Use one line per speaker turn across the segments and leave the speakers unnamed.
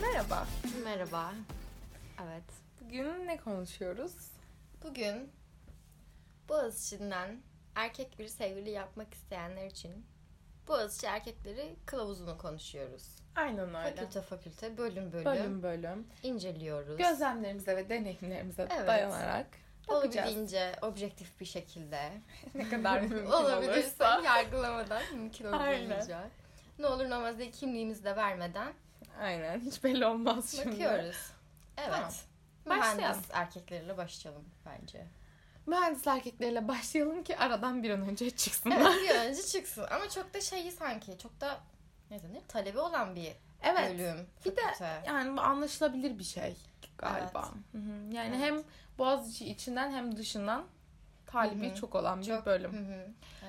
Merhaba.
Merhaba. Evet.
Bugün ne konuşuyoruz?
Bugün Boğaz içinden erkek bir sevgili yapmak isteyenler için Boğaz içi erkekleri kılavuzunu konuşuyoruz.
Aynen öyle.
Fakülte fakülte, bölüm bölüm,
Bölüm bölüm.
inceliyoruz.
Gözlemlerimize ve deneyimlerimize
Evet.
dayanarak bakacağız.
Olabildiğince objektif bir şekilde
ne kadar mümkün
olabilirse
olursa.
yargılamadan mümkün
Aynen.
olduğunca ne olur ne olmaz diye kimliğimizi de vermeden
Aynen. Hiç belli olmaz şimdi.
bakıyoruz. Evet.
Tamam. Başlayalım.
Mühendis erkekleriyle başlayalım bence.
Mühendis erkekleriyle başlayalım ki aradan bir an önce çıksınlar.
Evet bir an önce çıksın. Ama çok da şeyi sanki çok da ne denir? Talebi olan bir
Evet.
bölüm.
Bir de-
fakülte.
Yani bu anlaşılabilir bir şey galiba. Hı hı. Yani
Evet.
hem Boğaziçi içinden hem dışından talibi
Hı hı.
çok olan bir
Çok- Hı
bölüm.
hı.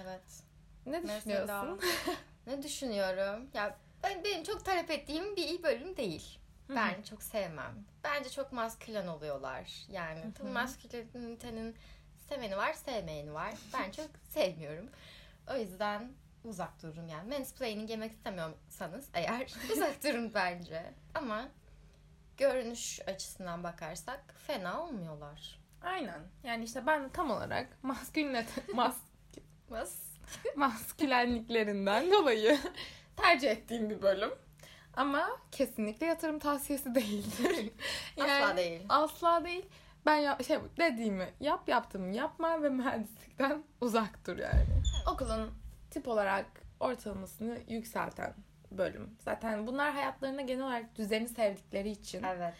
evet.
Ne düşünüyorsun?
Ne düşünüyorum? Ya ben, benim çok talep ettiğim bir bölüm değil.
Hı hı.
Ben çok sevmem. Bence çok maskülen oluyorlar. Yani
Hı
tabii
hı.
maskülenitenin seveni var, sevmeyeni var. Ben çok sevmiyorum. O yüzden uzak dururum yani. Mansplaining yemek istemiyorsanız eğer uzak durun bence. Ama görünüş açısından bakarsak fena olmuyorlar.
Aynen. Yani işte ben tam olarak maskülinite, mas,
Mas
maskülenliklerinden dolayı tercih ettiğim bir bölüm. Ama kesinlikle yatırım tavsiyesi değildir.
Asla değil.
Asla değil. Ben ya- şey dediğimi yap yaptım yapma ve mühendislikten uzak dur yani. Okulun tip olarak ortalamasını yükselten bölüm. Zaten bunlar hayatlarına genel olarak düzeni sevdikleri için
Evet.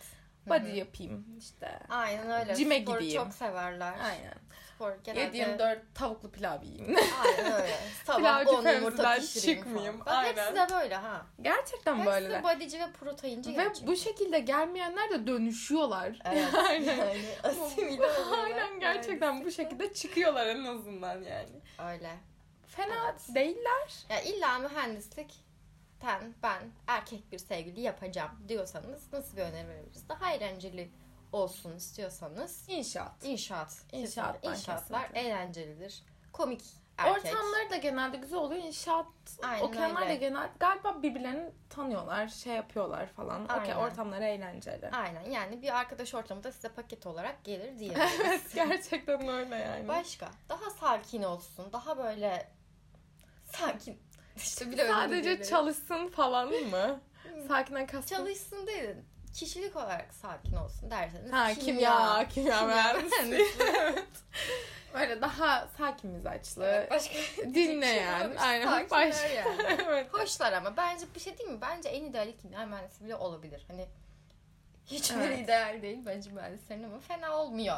Hı hı.
body yapayım işte.
Aynen öyle.
Cime
Sporu
gideyim.
çok severler.
Aynen.
Spor genelde.
7-24 tavuklu pilav yiyeyim.
Aynen öyle. Sabah
Pilavcı
10 yumurta
Fevzi'den
pişireyim
çıkmayayım.
falan. Bak hepsi
Aynen.
de böyle ha.
Gerçekten
Hepsi
böyleler.
bodyci ve proteinci
Ve
gerçi.
bu şekilde gelmeyenler de dönüşüyorlar.
Evet.
Aynen.
Yani asimile oluyorlar.
Aynen gerçekten bu şekilde çıkıyorlar en azından yani.
Öyle.
Fena
Evet.
değiller.
Ya illa mühendislikten ben erkek bir sevgili yapacağım diyorsanız nasıl bir öneri veririz? Daha eğlenceli olsun istiyorsanız
İnşaat.
inşaat.
İnşaatlar
kesinlikle. İnşaatlar
kesinlikle.
eğlencelidir. Komik erkek.
Ortamları da genelde güzel oluyor. İnşaat
Aynen
okuyanlar da
öyle.
genel galiba birbirlerini tanıyorlar, şey yapıyorlar falan. Okey
Aynen.
ortamları eğlenceli.
Aynen yani bir arkadaş ortamında size paket olarak gelir diyebiliriz.
Evet gerçekten öyle yani.
Başka daha sakin olsun daha böyle sakin işte bilemedim.
Sadece
cümleleri.
çalışsın falan mı? Sakinden kastım.
çalışsın değil kişilik olarak sakin olsun derseniz
Ha kimya, kimya, mühendisi.
mühendisi.
Böyle daha sakin mizaçlı,
Evet, başka
dinle
şey
yani.
olmamış.
Aynen.
Sakinler
Başka.
yani.
evet.
Hoşlar ama bence bir şey değil mi? Bence en ideali kimya mühendisi bile olabilir. Hani hiç
Evet.
öyle ideal değil bence mühendislerin ama fena olmuyor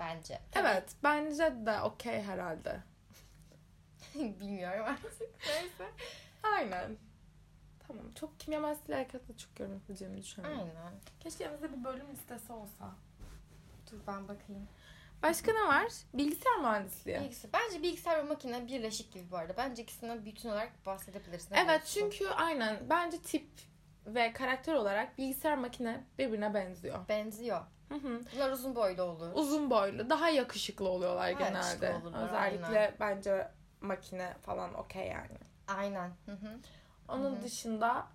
bence. Tabii
Evet, bence de okey herhalde.
Bilmiyorum artık. Neyse.
Aynen. Tamam. Çok kimya mühendisliği harekatla çok yorum yapabileceğimi düşünüyorum.
Aynen.
Keşke elimizde bir bölüm listesi olsa.
Dur ben bakayım.
Başka ne var? Bilgisayar mühendisliği.
Bilgisayar. Bence bilgisayar ve makine birleşik gibi bu arada. Bence ikisinden bütün olarak bahsedebilirsin. Ne
evet
diyorsun?
çünkü aynen bence tip ve karakter olarak bilgisayar makine birbirine benziyor.
benziyor.
Hı hı.
Bunlar uzun boylu olur.
Uzun boylu, daha yakışıklı oluyorlar
Daha yakışıklı
genelde.
olurlar,
Özellikle
aynen.
bence makine falan okey yani.
Aynen. Hı hı.
Onun
Hı hı.
dışında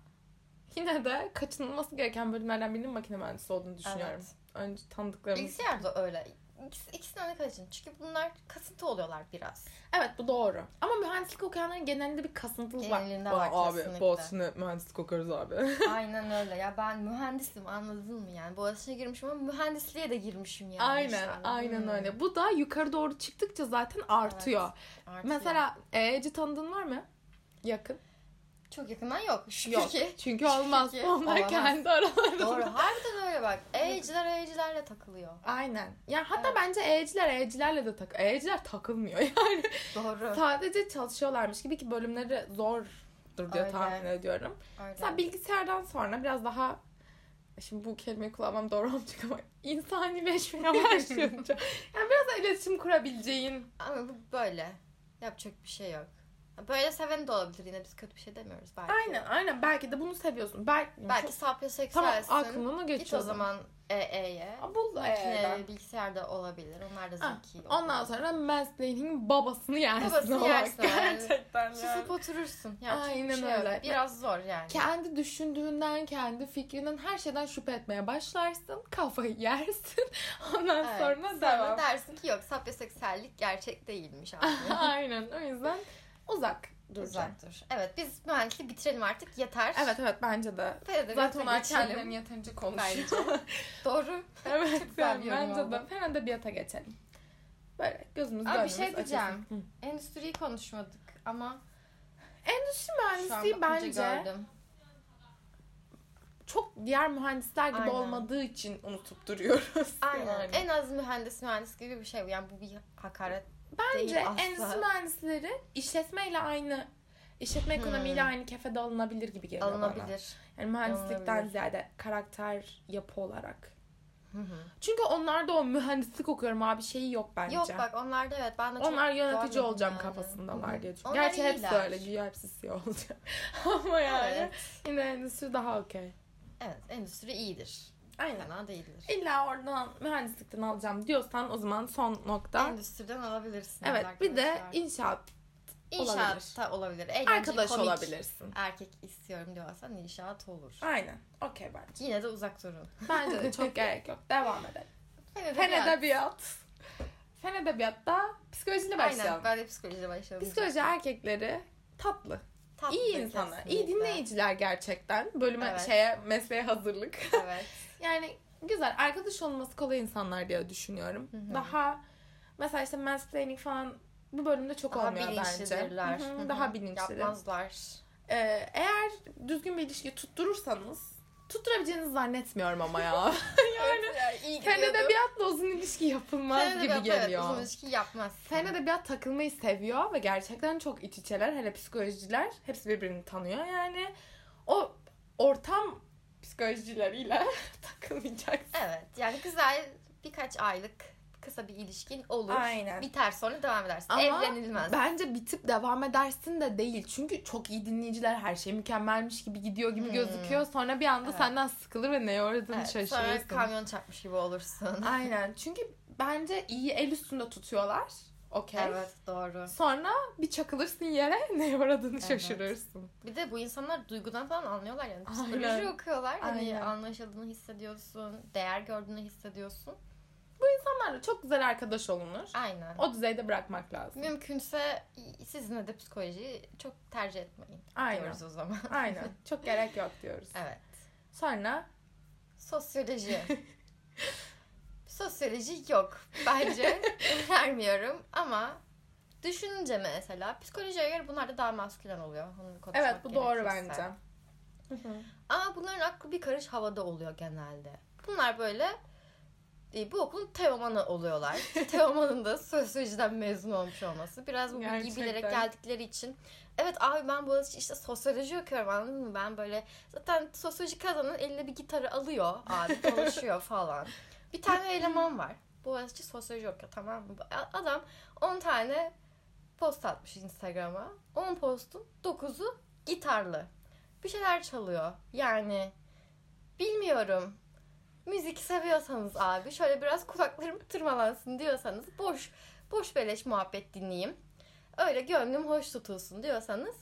yine de kaçınılması gereken bölümlerden birinin makine mühendisi olduğunu düşünüyorum.
Evet.
Önce tanıdıklarımız.
Bilgisayar da öyle. İkisi, ikisinden de kaçın. Çünkü bunlar kasıntı oluyorlar biraz.
Evet bu doğru. Ama mühendislik okuyanların genelinde bir kasıntılık var.
Genelinde
Aa,
var
abi
kesinlikle.
Boğaziçi'nde mühendislik okuyoruz abi.
Aynen öyle. Ya ben mühendisim anladın mı yani? Boğaziçi'ne girmişim ama mühendisliğe de girmişim yani.
aynen
işte.
aynen
Hmm.
öyle. Bu da yukarı doğru çıktıkça zaten artıyor.
Artıyor.
Mesela Ece tanıdığın var mı? Yakın.
çok yakından yok. Şükür
Yok.
ki.
Çünkü olmaz.
Çünkü
Onlar
olamaz.
kendi aralarında.
Doğru. Harbiden öyle bak. E'ciler E'cilerle takılıyor.
Aynen. Yani hatta
Evet.
bence E'ciler E'cilerle de tak E'ciler takılmıyor yani.
Doğru.
Sadece çalışıyorlarmış gibi ki bölümleri zordur diye
Öyle.
tahmin ediyorum.
Öyle.
Mesela bilgisayardan sonra biraz daha şimdi bu kelimeyi kullanmam doğru olmayacak ama insanileşmeye başlayınca yani biraz da iletişim kurabileceğin
Ama bu böyle. Yapacak bir şey yok. Böyle seven de olabilir yine biz kötü bir şey demiyoruz belki.
Aynen aynen belki de bunu seviyorsun. Belki,
Belki
Çok- tamam
sapyoseksüelsin.
aklına geçiyor.
Git o zaman EE'ye.
Aa, Bul da
Makine,
eğer.
bilgisayarda olabilir. Onlar da
Ha,
zeki.
E Ah, Ondan sonra mansplaining'in babasını yersin.
Babasını
olarak.
yersin, aynen.
Gerçekten yani.
Susup oturursun. Ya,
Aynen
Aynen şey yok.
öyle.
Biraz zor yani.
Kendi düşündüğünden, kendi fikrinden, her şeyden şüphe etmeye başlarsın. Kafayı yersin. Ondan
Evet,
sonra devam. Ah,
dersin ki yok sapyoseksüellik gerçek değilmiş aslında.
aynen o yüzden uzak duracaksın.
Uzak dur. Evet biz mühendisliği bitirelim artık yeter.
Evet evet bence de.
Pedagogika
Zaten onlar
geçelim
kendilerini yeterince konuşuyor.
Bence. Doğru.
evet
güzel
yani
bir yorum
bence
oldu.
de. Hemen edebiyata geçelim. Böyle gözümüz
Abi bir
gönlümüz
şey
açılsın.
diyeceğim.
Hı.
Endüstriyi konuşmadık ama
Endüstri
şu an
mühendisliği
bakınca
bence
gördüm.
çok diğer mühendisler gibi
Aynen.
olmadığı için unutup duruyoruz.
Aynen.
Yani.
En az mühendis mühendis gibi bir şey bu. Yani bu bir hakaret
Bence
değil asla.
endüstri mühendisleri işletmeyle aynı işletme
Hmm.
ekonomiyle aynı kefede alınabilir gibi geliyor bana.
alınabilir.
Yani mühendislikten
Alınabilir.
ziyade karakter yapı olarak.
Hı hı.
Çünkü onlarda o mühendislik okuyorum abi şeyi yok bence.
Yok bak onlarda evet ben de çok
Onlar yönetici
görmedim
olacağım
yani. Hı
kafasındalar
hı.
diye düşünüyorum.
Onlar
Gerçi hepsi
iyiler.
öyle. Güya hepsi siyah olacak. Ama yani
Evet.
yine endüstri daha okey.
evet endüstri iyidir.
Aynen.
Fena değildir.
İlla oradan mühendislikten alacağım diyorsan o zaman son nokta.
Endüstriden alabilirsin.
Evet bir de
arkadaşlar.
inşaat
İnşaatta olabilir. Eğlenceli,
arkadaş
komik.
olabilirsin.
Erkek istiyorum diyorsan inşaat olur.
Aynen. Okey bence.
Yine de uzak durun.
Bence de çok gerek yok. Devam edelim. Fen
Fena
edebiyat. Fen edebiyatta psikolojiyle
Aynen
başlayalım.
ben de psikolojiyle başladım.
Psikoloji erkekleri tatlı.
Tatlı
iyi insanlar. iyi
kesinlikle.
dinleyiciler gerçekten. Bölüme
Evet.
şeye mesleğe hazırlık.
evet.
Yani güzel arkadaş olması kolay insanlar diye düşünüyorum.
Hı hı.
Daha mesela işte mansplaining falan bu bölümde çok
Daha
olmuyor bence.
bilinçlidirler.
Hı hı,
Hı hı.
Daha bilinçli.
Yapmazlar.
Ee, eğer düzgün bir ilişki tutturursanız tutturabileceğinizi zannetmiyorum ama ya.
Yani evet, iyi
Fen edebiyatla uzun ilişki yapılmaz gibi
Evet,
geliyor.
uzun ilişki yapmaz.
Fen edebiyat takılmayı seviyor ve gerçekten çok iç içeler. Hele psikolojiciler hepsi birbirini tanıyor yani. O ortam psikolojileriyle takılmayacaksın.
Evet yani güzel birkaç aylık kısa bir ilişkin olur.
Aynen.
Biter sonra devam edersin.
Ama
Evlenilmez.
Bence bitip devam edersin de değil. Çünkü çok iyi dinleyiciler her şey mükemmelmiş gibi gidiyor gibi
Hmm.
gözüküyor. Sonra bir anda
Evet.
senden sıkılır ve neye uğradığını
Evet, sonra
şaşırırsın.
kamyon çarpmış gibi olursun.
Aynen. Çünkü bence iyi el üstünde tutuyorlar. Okey.
Evet doğru.
Sonra bir çakılırsın yere neye uğradığını
Evet.
şaşırırsın.
Bir de bu insanlar duygudan falan anlıyorlar yani. Psikoloji
Aynen.
okuyorlar. Hani
Aynen.
anlaşıldığını hissediyorsun. Değer gördüğünü hissediyorsun.
Onlarla çok güzel arkadaş olunur.
Aynen.
O düzeyde bırakmak lazım.
Mümkünse sizinle de psikolojiyi çok tercih etmeyin.
Aynen.
Diyoruz o zaman.
Aynen. Çok gerek yok diyoruz.
evet.
Sonra
Sosyoloji. Sosyoloji yok bence. Önermiyorum ama düşününce mesela psikolojiye göre bunlar da daha maskülen oluyor. Bunu konuşmak
evet bu doğru
gerekirse.
bence.
Ama bunların aklı bir karış havada oluyor genelde. Bunlar böyle e, bu okulun Teoman'ı oluyorlar. Teoman'ın da sosyolojiden mezun olmuş olması. Biraz bu bilgiyi
Gerçekten.
bilerek geldikleri için. Evet abi ben Boğaziçi işte sosyoloji okuyorum anladın mı? Ben böyle zaten sosyoloji kazanan eline bir gitarı alıyor abi konuşuyor falan. Bir tane eleman var. Boğaziçi sosyoloji okuyor tamam mı? Adam 10 tane post atmış Instagram'a. 10 postun 9'u gitarlı. Bir şeyler çalıyor. Yani bilmiyorum. Müzik seviyorsanız abi şöyle biraz kulaklarım tırmalansın diyorsanız boş boş beleş muhabbet dinleyeyim. Öyle gönlüm hoş tutulsun diyorsanız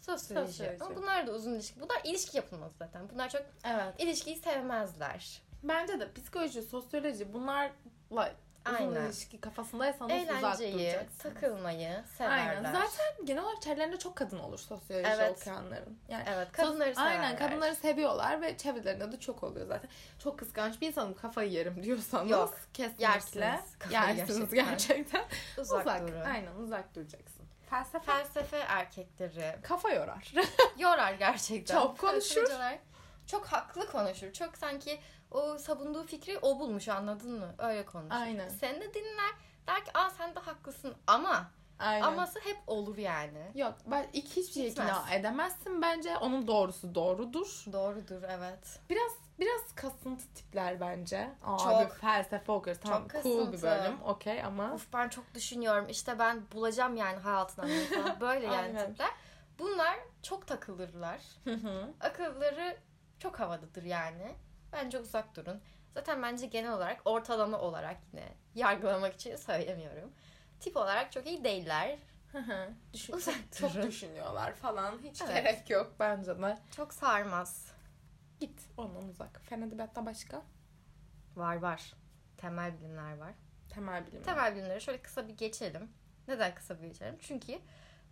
sosyoloji.
Sosyoloji.
Ama bunlar da uzun ilişki. Bunlar ilişki yapılmaz zaten. Bunlar çok
Evet.
ilişkiyi sevmezler.
Bence de psikoloji, sosyoloji bunlarla uzun
Aynen.
ilişki kafasındaysanız uzak
Eğlenceyi,
duracaksınız.
takılmayı severler.
Aynen. Zaten genel olarak çevrelerinde çok kadın olur sosyoloji
Evet.
okuyanların. Yani
Evet, kadınları
sos- Aynen
severler.
kadınları seviyorlar ve çevrelerinde de çok oluyor zaten. Çok kıskanç bir insanım kafayı yerim diyorsanız
Yok,
kesinlikle
yersiniz. Kafayı
yersiniz
gerçekten.
gerçekten.
uzak, durun.
Aynen uzak duracaksın. Felsefe
Felsefe erkekleri
kafa yorar.
yorar gerçekten.
Çok konuşur.
Felsefeciler Çok haklı konuşur. Çok sanki o savunduğu fikri o bulmuş anladın mı? Öyle konuşur.
Aynen.
Seni de dinler. Der ki aa sen de haklısın ama
Aynen.
aması hep olur yani.
Yok ben iki hiçbir şey
Gitmez.
ikna edemezsin bence. Onun doğrusu doğrudur.
Doğrudur evet.
Biraz Biraz kasıntı tipler bence. Aa,
Çok.
bir felsefe okuyoruz. Tamam
Çok
cool bir
kasıntı.
bölüm. Okey ama
Uf ben çok düşünüyorum. İşte ben bulacağım yani hayatına falan. Böyle yani
Aynen.
tipler. Bunlar çok takılırlar. Akılları çok havadadır yani. Bence uzak durun. Zaten bence genel olarak ortalama olarak yine yargılamak için söylemiyorum. Tip olarak çok iyi değiller.
Düşün-
Uzak
çok
durun.
düşünüyorlar falan. Hiç
Evet.
gerek yok bence de.
Çok sarmaz.
Git ondan uzak. Fen edebiyatta başka?
Var var. Temel bilimler var.
Temel bilim.
Temel bilimleri şöyle kısa bir geçelim. Neden kısa bir geçelim? Çünkü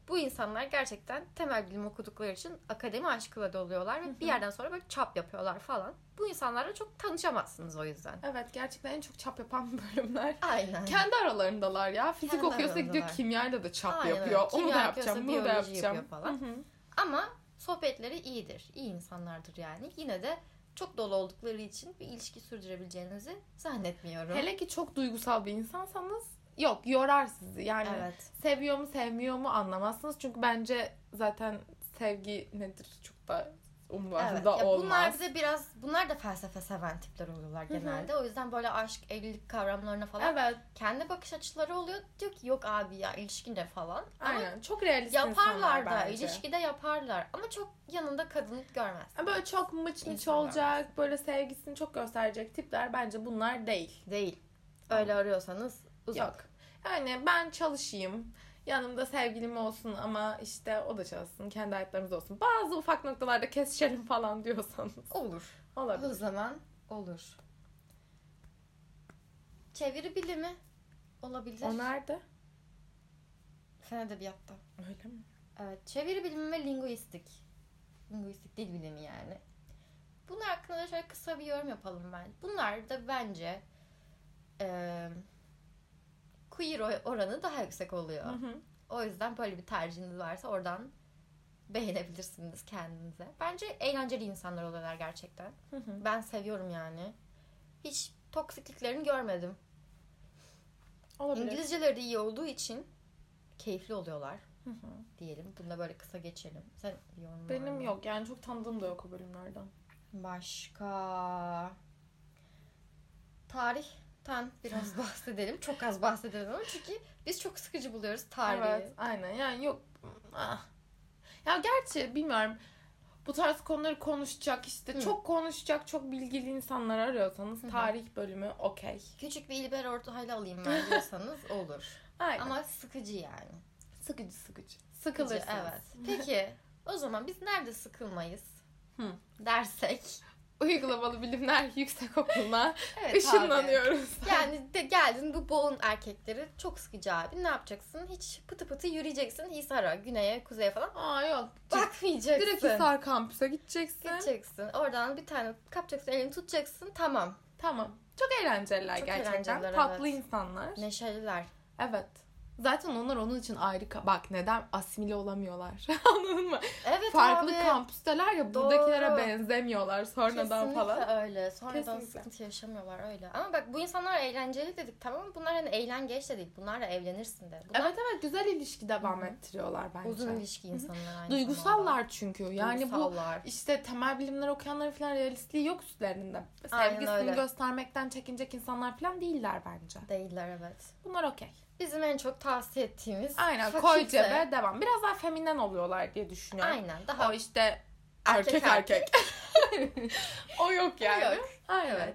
bu insanlar gerçekten temel bilim okudukları için akademi aşkıyla doluyorlar ve bir yerden sonra böyle çap yapıyorlar falan. Bu insanlarla çok tanışamazsınız o yüzden.
Evet gerçekten en çok çap yapan bölümler.
Aynen.
Kendi aralarındalar ya. Fizik
Kendi
okuyorsa gidiyor
aralarındalar.
kimyayla da çap
Aynen öyle.
yapıyor. Onu da
Kimya okuyorsa
yapacağım, bunu da
biyoloji
yapacağım.
yapıyor falan.
Hı hı.
Ama sohbetleri iyidir. İyi insanlardır yani. Yine de çok dolu oldukları için bir ilişki sürdürebileceğinizi zannetmiyorum.
Hele ki çok duygusal bir insansanız yok yorar sizi. Yani
evet.
seviyor mu sevmiyor mu anlamazsınız. Çünkü bence zaten sevgi nedir çok da
Evet.
umurlarında
Ya bunlar
olmaz.
bize biraz bunlar da felsefe seven tipler oluyorlar
hı.
genelde. O yüzden böyle aşk, evlilik kavramlarına falan
Evet
kendi bakış açıları oluyor. Diyor ki yok abi ya ilişki ne falan. Ama
aynen çok realist insanlar
yaparlar da
bence.
ilişkide yaparlar. Ama çok yanında kadın görmez.
Yani Böyle çok mıç mıç
İnsanlar.
olacak, böyle sevgisini çok gösterecek tipler bence bunlar değil.
Değil. Öyle arıyorsanız uzak.
Yok. Yani ben çalışayım, yanımda sevgilim olsun ama işte o da çalışsın, kendi hayatlarımız olsun. Bazı ufak noktalarda kesişelim falan diyorsanız
Olur.
olabilir.
O zaman olur. Çeviri bilimi olabilir.
O nerede?
Fen edebiyatta.
Öyle mi?
Evet, çeviri bilimi ve linguistik. Linguistik dil bilimi yani. Bunlar hakkında da şöyle kısa bir yorum yapalım ben. Bunlar da bence eee queer oy- oranı daha yüksek oluyor.
Hı hı.
O yüzden böyle bir tercihiniz varsa oradan beğenebilirsiniz kendinize. Bence eğlenceli insanlar oluyorlar gerçekten.
Hı hı.
Ben seviyorum yani. Hiç toksikliklerini görmedim.
Olabilir.
İngilizceleri de iyi olduğu için keyifli oluyorlar
Hı hı.
diyelim. Bunu da böyle kısa geçelim. Sen bir yorum var
Benim
mı?
yok yani çok tanıdığım da yok o bölümlerden.
Başka tarihten biraz bahsedelim. çok az bahsedelim ama çünkü biz çok sıkıcı buluyoruz tarihi.
Evet aynen yani yok. Ah. Ya gerçi bilmiyorum bu tarz konuları konuşacak işte
Hı.
çok konuşacak çok bilgili insanlar arıyorsanız
Hı hı.
tarih bölümü okey.
Küçük bir İlber Ortaylı alayım ben diyorsanız olur.
Aynen.
ama sıkıcı yani.
sıkıcı sıkıcı.
Sıkıcı,
Sıkılırsınız.
evet. Peki o zaman biz nerede sıkılmayız?
Hı.
Dersek.
Uygulamalı bilimler yüksek okuluna
Evet abi.
ışınlanıyoruz.
Yani de geldin bu boğun erkekleri çok sıkıcı abi. Ne yapacaksın? Hiç pıtı pıtı yürüyeceksin Hisar'a, güneye, kuzeye falan.
Aa yok.
Bakmayacaksın.
Direkt Hisar kampüse gideceksin.
Gideceksin. Oradan bir tane kapacaksın, elini tutacaksın. Tamam.
Tamam. Çok eğlenceliler
Çok
gerçekten.
eğlenceliler,
Tatlı
evet.
insanlar.
Neşeliler.
Evet. Zaten onlar onun için ayrı ka- bak neden asimile olamıyorlar. Anladın mı?
Evet
Farklı
abi.
kampüsteler ya buradakilere
Doğru.
benzemiyorlar sonradan
Kesinlikle
falan.
öyle. Sonradan
Kesinlikle.
sıkıntı yaşamıyorlar öyle. Ama bak bu insanlar eğlenceli dedik tamam mı? Bunlar hani eğlen geç de değil. Bunlarla evlenirsin de. Bunlar
Evet evet güzel ilişki devam ettiriyorlar bence.
uzun ilişki insanlar aynı zamanda.
Duygusallar çünkü. Yani bu
Duygusallar.
işte temel bilimler okuyanların falan realistliği yok üstlerinde.
Aynen
Sevgisini
öyle.
göstermekten çekinecek insanlar falan değiller bence.
Değiller evet.
Bunlar okey.
Bizim en çok tavsiye ettiğimiz
Aynen
fakülte.
koy cebe devam. Biraz daha feminen oluyorlar diye düşünüyorum.
Aynen daha
O işte
Erkek
erkek erkek. o yok yani.
Yok.
Aynen.
Evet.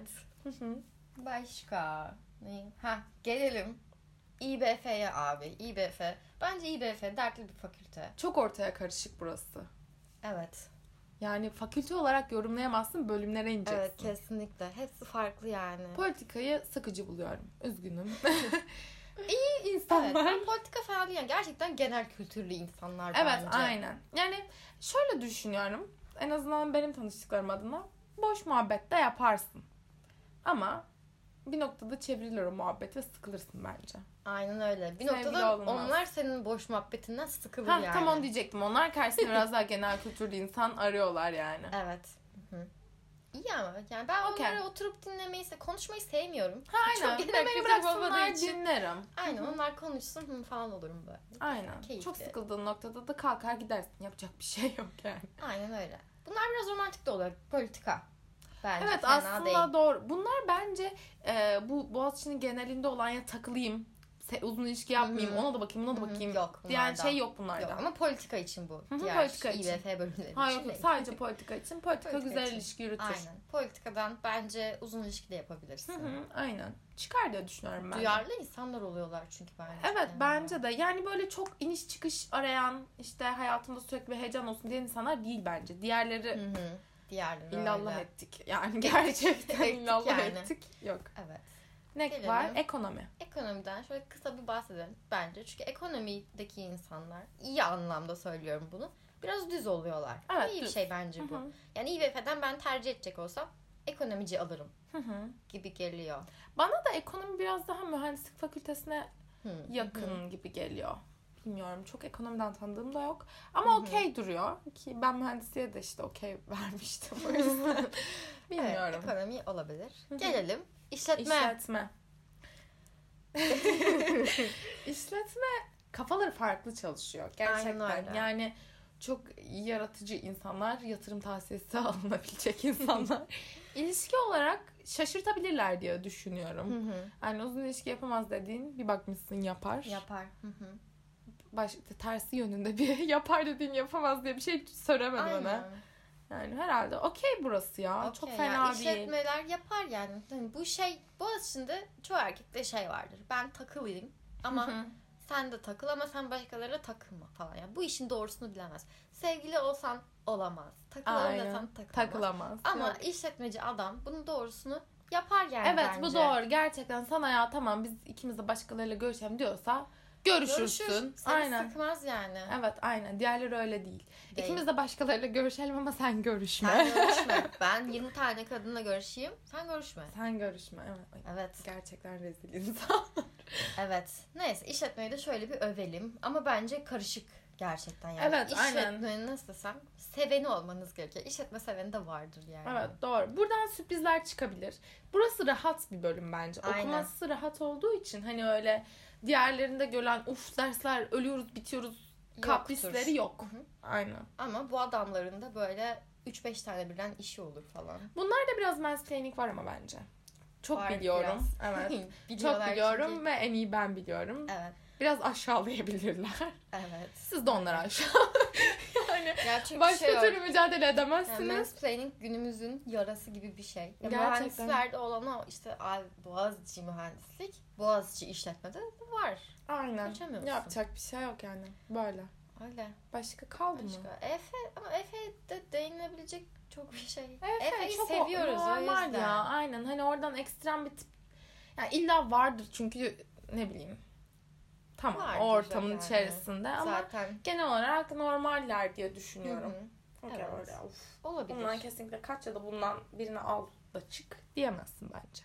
Başka. Ne? Ha gelelim. İBF'ye abi. İBF. Bence İBF dertli bir fakülte.
Çok ortaya karışık burası.
Evet.
Yani fakülte olarak yorumlayamazsın, bölümlere ineceksin.
Evet kesinlikle. Hepsi farklı yani.
Politikayı sıkıcı buluyorum. Üzgünüm.
İyi
insanlar.
Evet, ben politika falan değil. yani. Gerçekten genel kültürlü insanlar
evet,
bence.
aynen. Yani şöyle düşünüyorum. En azından benim tanıştıklarım adına boş muhabbet de yaparsın. Ama bir noktada çevrilir o muhabbet ve sıkılırsın bence.
Aynen öyle. Bir
Sevgili
noktada
olunmaz.
onlar senin boş muhabbetinden sıkılır
Ha,
yani.
Tam onu diyecektim. Onlar karşısında biraz daha genel kültürlü insan arıyorlar yani.
Evet. Hı-hı. İyi ama yani ben
Okey.
onları oturup dinlemeyi, se- konuşmayı sevmiyorum.
Aynen.
Çok
Çok
genel
beni
kültür
bıraksınlar
olmadığı için.
dinlerim.
Aynen onlar konuşsun hı, falan olurum böyle.
Aynen.
Keyifli.
Çok sıkıldığın noktada da kalkar gidersin. Yapacak bir şey yok yani.
Aynen öyle. Bunlar biraz romantik de oluyor. Politika. Bence
evet
fena
aslında
değil.
doğru. Bunlar bence e, bu Boğaziçi'nin genelinde olan ya takılayım, se- uzun ilişki yapmayayım,
Hı hı.
ona da bakayım, buna da
Hı hı,
bakayım.
Yok
Diğer
bunlardan.
şey yok
Yok,
bunlarda.
ama politika için bu.
hı,
Diğer
politika
IBF
için.
bölümleri
Ha yok
için
yok
değil.
sadece politika için. Politika,
Politika
güzel
için.
ilişki yürütür.
Aynen. Politikadan bence uzun ilişki de yapabilirsin.
Hı hı, aynen. Çıkar diye düşünüyorum ben. de.
Duyarlı insanlar oluyorlar çünkü bence.
Evet
genelde.
bence de. Yani böyle çok iniş çıkış arayan, işte hayatımda sürekli bir heyecan olsun diyen insanlar değil bence. Diğerleri
Hı hı. Diğerleri
illallah
öyle.
ettik. Yani gerçekten
Ettik
illallah
yani.
ettik. Yok.
Evet.
Ne
Gelelim.
var? Ekonomi.
Ekonomiden şöyle kısa bir bahsedelim bence. Çünkü ekonomideki insanlar iyi anlamda söylüyorum bunu. Biraz düz oluyorlar.
Evet,
iyi bir
düz.
şey bence bu. Yani İBF'den ben tercih edecek olsam ekonomici alırım
Hı hı.
gibi geliyor.
Bana da ekonomi biraz daha mühendislik fakültesine
Hı.
yakın gibi geliyor. Bilmiyorum çok ekonomiden tanıdığım da yok. Ama okey duruyor ki ben mühendisliğe de işte okey vermiştim o yüzden. Bilmiyorum.
Evet, ekonomi olabilir.
hı.
Gelelim işletme.
İşletme. İşletme kafaları farklı çalışıyor gerçekten.
Aynen öyle.
Yani çok yaratıcı insanlar, yatırım tavsiyesi alınabilecek insanlar. İlişki olarak şaşırtabilirler diye düşünüyorum.
Hı hı.
Yani uzun ilişki yapamaz dediğin bir bakmışsın yapar.
Yapar. Hı hı.
Baş, tersi yönünde bir yapar dediğin yapamaz diye bir şey söylemedi bana.
Aynen.
Yani herhalde okey burası ya. çok
Okey,
fena
yani
değil.
işletmeler yapar yani. Hani bu şey Boğaziçi'nde çoğu erkekte şey vardır. Ben takılayım ama
Hı hı.
sen de takıl ama sen başkalarıyla takılma falan. Yani bu işin doğrusunu bilemez. Sevgili olsan olamaz. Takılalım
Aynen.
desen takılamaz.
Takılamaz.
Ama
Yok.
işletmeci adam bunun doğrusunu yapar yani
Evet
bence.
bu doğru. Gerçekten sana ya tamam biz ikimiz de başkalarıyla görüşelim diyorsa görüşürsün.
Görüşür. Seni
Aynen.
sıkmaz yani.
Evet aynen. Diğerleri öyle değil.
Değil.
İkimiz de başkalarıyla görüşelim ama sen görüşme. Sen,
Sen görüşme. ben 20 tane kadınla görüşeyim. Sen görüşme.
görüşme. Evet. Ay,
Evet.
Gerçekten rezil insan.
Evet. Neyse işletmeyi de şöyle bir övelim. Ama bence karışık gerçekten yani.
Evet, aynen.
İşletmeyi nasıl desem seveni olmanız gerekiyor. İşletme seveni de vardır yani.
evet doğru. Buradan sürprizler çıkabilir. Burası rahat bir bölüm bence.
Aynen.
Okuması rahat olduğu için hani öyle diğerlerinde gören uf dersler ölüyoruz bitiyoruz
Yoktur.
kaprisleri yok.
Hı hı.
Aynen.
Ama bu adamların da böyle 3-5 tane birden işi olur falan.
Bunlarda biraz mansplaining var ama bence. Çok
Var
biliyorum. Evet. Çok
Biliyorlar
biliyorum
çünkü-
ve en iyi ben biliyorum.
Evet.
Biraz aşağılayabilirler.
Evet.
Siz de onları aşağı. yani
Ya çünkü
başka
şey
türlü mücadele
Yani
edemezsiniz.
mansplaining günümüzün yarası gibi bir şey. Ya
Gerçekten.
mühendislerde olan o işte ay, Boğaziçi mühendislik, Boğaziçi işletmede var.
Aynen.
Kaçamıyorsun.
Yapacak bir şey yok yani. Böyle.
Öyle.
Başka kaldı mı?
Başka. Efe ama Efe'de değinilebilecek çok bir şey.
Efe,
Efe'yi
hani çok
seviyoruz o
normal
yüzden.
ya. Aynen. Hani oradan ekstrem bir tip. Yani illa vardır çünkü ne bileyim. Tamam.
Vardır
o ortamın
zaten.
içerisinde ama
Zaten
genel olarak normaller diye
Hı
düşünüyorum.
hı.
Okey,
Evet.
öyle. Uf.
Olabilir.
Bundan kesinlikle kaç ya da bundan birini al da çık diyemezsin bence.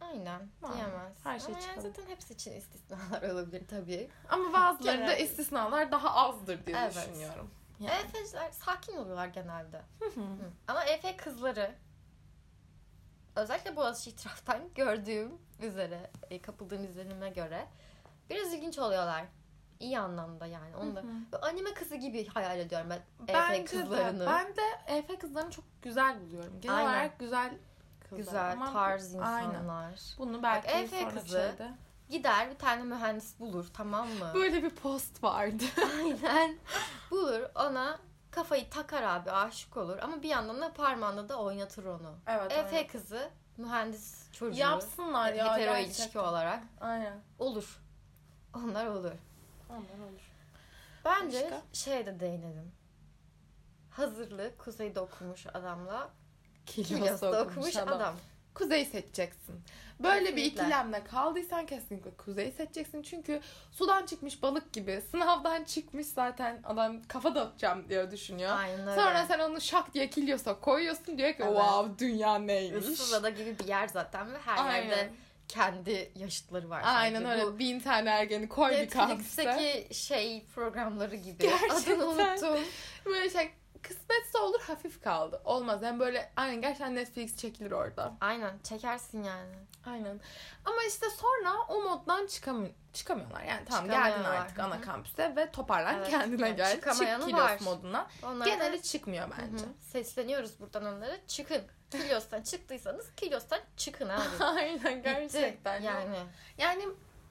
Aynen.
Var.
Diyemez.
Her şey
Ama yani
çıkabilir.
zaten hepsi için istisnalar olabilir tabii.
Ama bazıları da
Genelde.
istisnalar daha azdır diye
Evet.
düşünüyorum. Yani.
Efe'ciler sakin oluyorlar genelde.
hı.
Hı. Ama Efe kızları özellikle Boğaziçi itiraftan gördüğüm üzere, e, kapıldığım izlenime göre biraz ilginç oluyorlar. İyi anlamda yani. Onu da
Hı hı.
Böyle anime kızı gibi hayal ediyorum ben Efe
Bence
kızlarını.
de. Ben de EF kızlarını çok güzel buluyorum. Genel
Aynen.
olarak güzel kızlar.
Güzel
Ama-
tarz insanlar.
Aynen. Bunu belki
Bak, EF
sonra
kızı-
şeyde.
Gider bir tane mühendis bulur tamam mı?
Böyle bir post vardı.
Aynen. Bulur ona kafayı takar abi aşık olur ama bir yandan da parmağında da oynatır onu.
evet.
Efe kızı mühendis çocuğu.
Yapsınlar ya.
Hetero
gerçekten.
ilişki olarak
Aynen.
olur. Onlar olur.
Ondan olur.
Bence
Başka?
şeye de değinelim. Hazırlık kuzeyde okumuş adamla
Kilosu
Kilyos'ta
okumuş adam. Kuzey seçeceksin. Böyle bir
Kesinlikle.
ikilemle kaldıysan kesinlikle kuzeyi seçeceksin. Çünkü sudan çıkmış balık gibi sınavdan çıkmış zaten adam kafa dağıtacağım diye düşünüyor.
Aynen öyle.
Sonra sen onu şak diye kiliyorsa koyuyorsun diyor ki
Evet.
wow dünya neymiş.
Isıvada gibi bir yer zaten ve her yerde
Aynen,
kendi yaşıtları var.
Aynen
sadece.
öyle
Bu
bin tane ergeni koy bir kampüse.
Netflix'teki şey programları gibi.
Gerçekten.
Adını unuttum.
Böyle şey kısmetse olur hafif kaldı. Olmaz yani böyle aynen gerçekten Netflix çekilir orada.
Aynen çekersin yani.
Aynen. Ama işte sonra o moddan çıkam çıkamıyorlar. Yani tamam geldin
Çıkamıyorlar.
artık ana
Hı hı.
kampüse ve toparlan
Evet.
kendine
Yani
gel. Çık
çıkamayanı var.
kilos moduna.
Onlar
Geneli çıkmıyor
Hı hı.
bence.
Sesleniyoruz buradan onlara. Çıkın. Kilos'tan çıktıysanız Kilos'tan çıkın abi.
Aynen gerçekten.
Bitti.
Yani.
Yani.
yani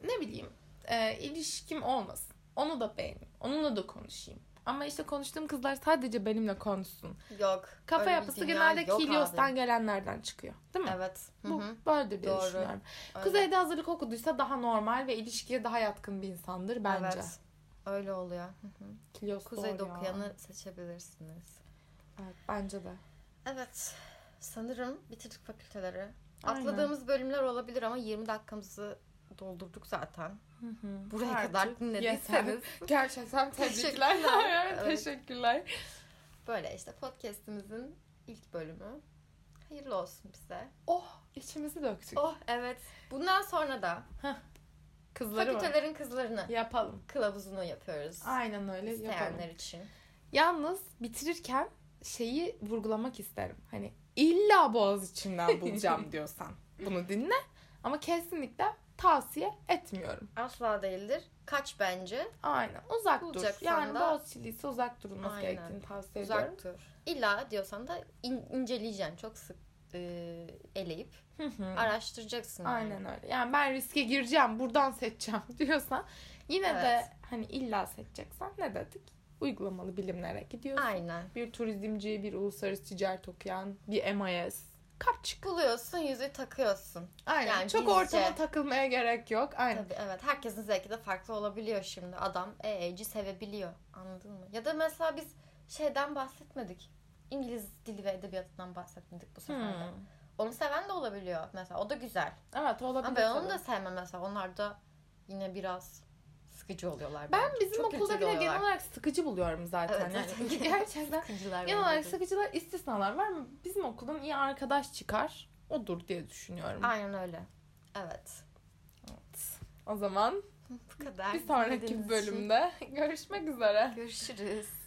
ne bileyim e, ilişkim olmasın. Onu da beğeneyim. Onunla da konuşayım. Ama işte konuştuğum kızlar sadece benimle konuşsun.
Yok.
Kafa
öyle bir
yapısı
dünya
genelde
yok abi.
Kilios'tan gelenlerden çıkıyor. Değil mi?
Evet. Hı
Bu
hı.
böyle diye
Doğru.
düşünüyorum.
Öyle.
Kuzey'de hazırlık okuduysa daha normal ve ilişkiye daha yatkın bir insandır bence.
Evet. Öyle oluyor. Hı hı.
Kilios
Kuzeyde
doğru ya.
okuyanı seçebilirsiniz.
Evet, bence de.
Evet. Sanırım bitirdik fakülteleri.
Aynen.
Atladığımız bölümler olabilir ama 20 dakikamızı doldurduk zaten. Buraya
Artık
kadar dinlediyseniz
yeter. Gerçekten tebrikler.
Teşekkürler.
Evet,
Evet.
Teşekkürler.
böyle işte podcast'imizin ilk bölümü. Hayırlı olsun bize.
Oh içimizi döktük.
Oh evet. Bundan sonra da
Kızları mı?
fakültelerin kızlarını
Yapalım.
kılavuzunu yapıyoruz.
Aynen öyle yapalım.
İsteyenler için.
Yalnız bitirirken şeyi vurgulamak isterim. Hani illa boğaz içinden bulacağım diyorsan bunu dinle. Ama kesinlikle tavsiye etmiyorum.
Asla değildir. Kaç bence?
Aynen. Uzak dur.
Bulacaksan
Yani
da-
Boğaziçi'liyse uzak durulması
Aynen.
gerektiğini tavsiye ediyorum.
Uzak dur. İlla diyorsan da in- inceleyeceksin. Çok sık e, eleyip
Hı hı.
araştıracaksın. yani.
Aynen öyle. Yani ben riske gireceğim, buradan seçeceğim diyorsan yine de
Evet.
hani illa seçeceksen ne dedik? Uygulamalı bilimlere gidiyorsun.
Aynen.
Bir turizmci, bir uluslararası ticaret okuyan, bir MIS. Kapçık.
Buluyorsun yüzüğü takıyorsun.
Aynen.
Yani
Çok
bizce-
ortama takılmaya gerek yok. Aynen.
Tabii evet. Herkesin zevki de farklı olabiliyor şimdi. Adam EE'ci sevebiliyor. Anladın mı? Ya da mesela biz şeyden bahsetmedik. İngiliz dili ve edebiyatından bahsetmedik bu sefer de.
Hmm.
Onu seven de olabiliyor mesela. O da güzel.
Evet
Ama
olabilir.
ben onu
tabii.
da sevmem mesela. Onlar da yine biraz sıkıcı oluyorlar.
Ben
bence.
bizim
Çok
okulda
kültürlü
bile genel
oluyorlar.
olarak sıkıcı buluyorum zaten.
Evet, zaten
yani.
genel-
Gerçekten. Genel
sıkıcılar. bence.
olarak sıkıcılar istisnalar var mı? Bizim okuldan iyi arkadaş çıkar. Odur diye düşünüyorum.
Aynen öyle. Evet.
Evet. O zaman
Bu kadar.
Bir sonraki
Dinlediğiniz için
bölümde görüşmek üzere.
Görüşürüz.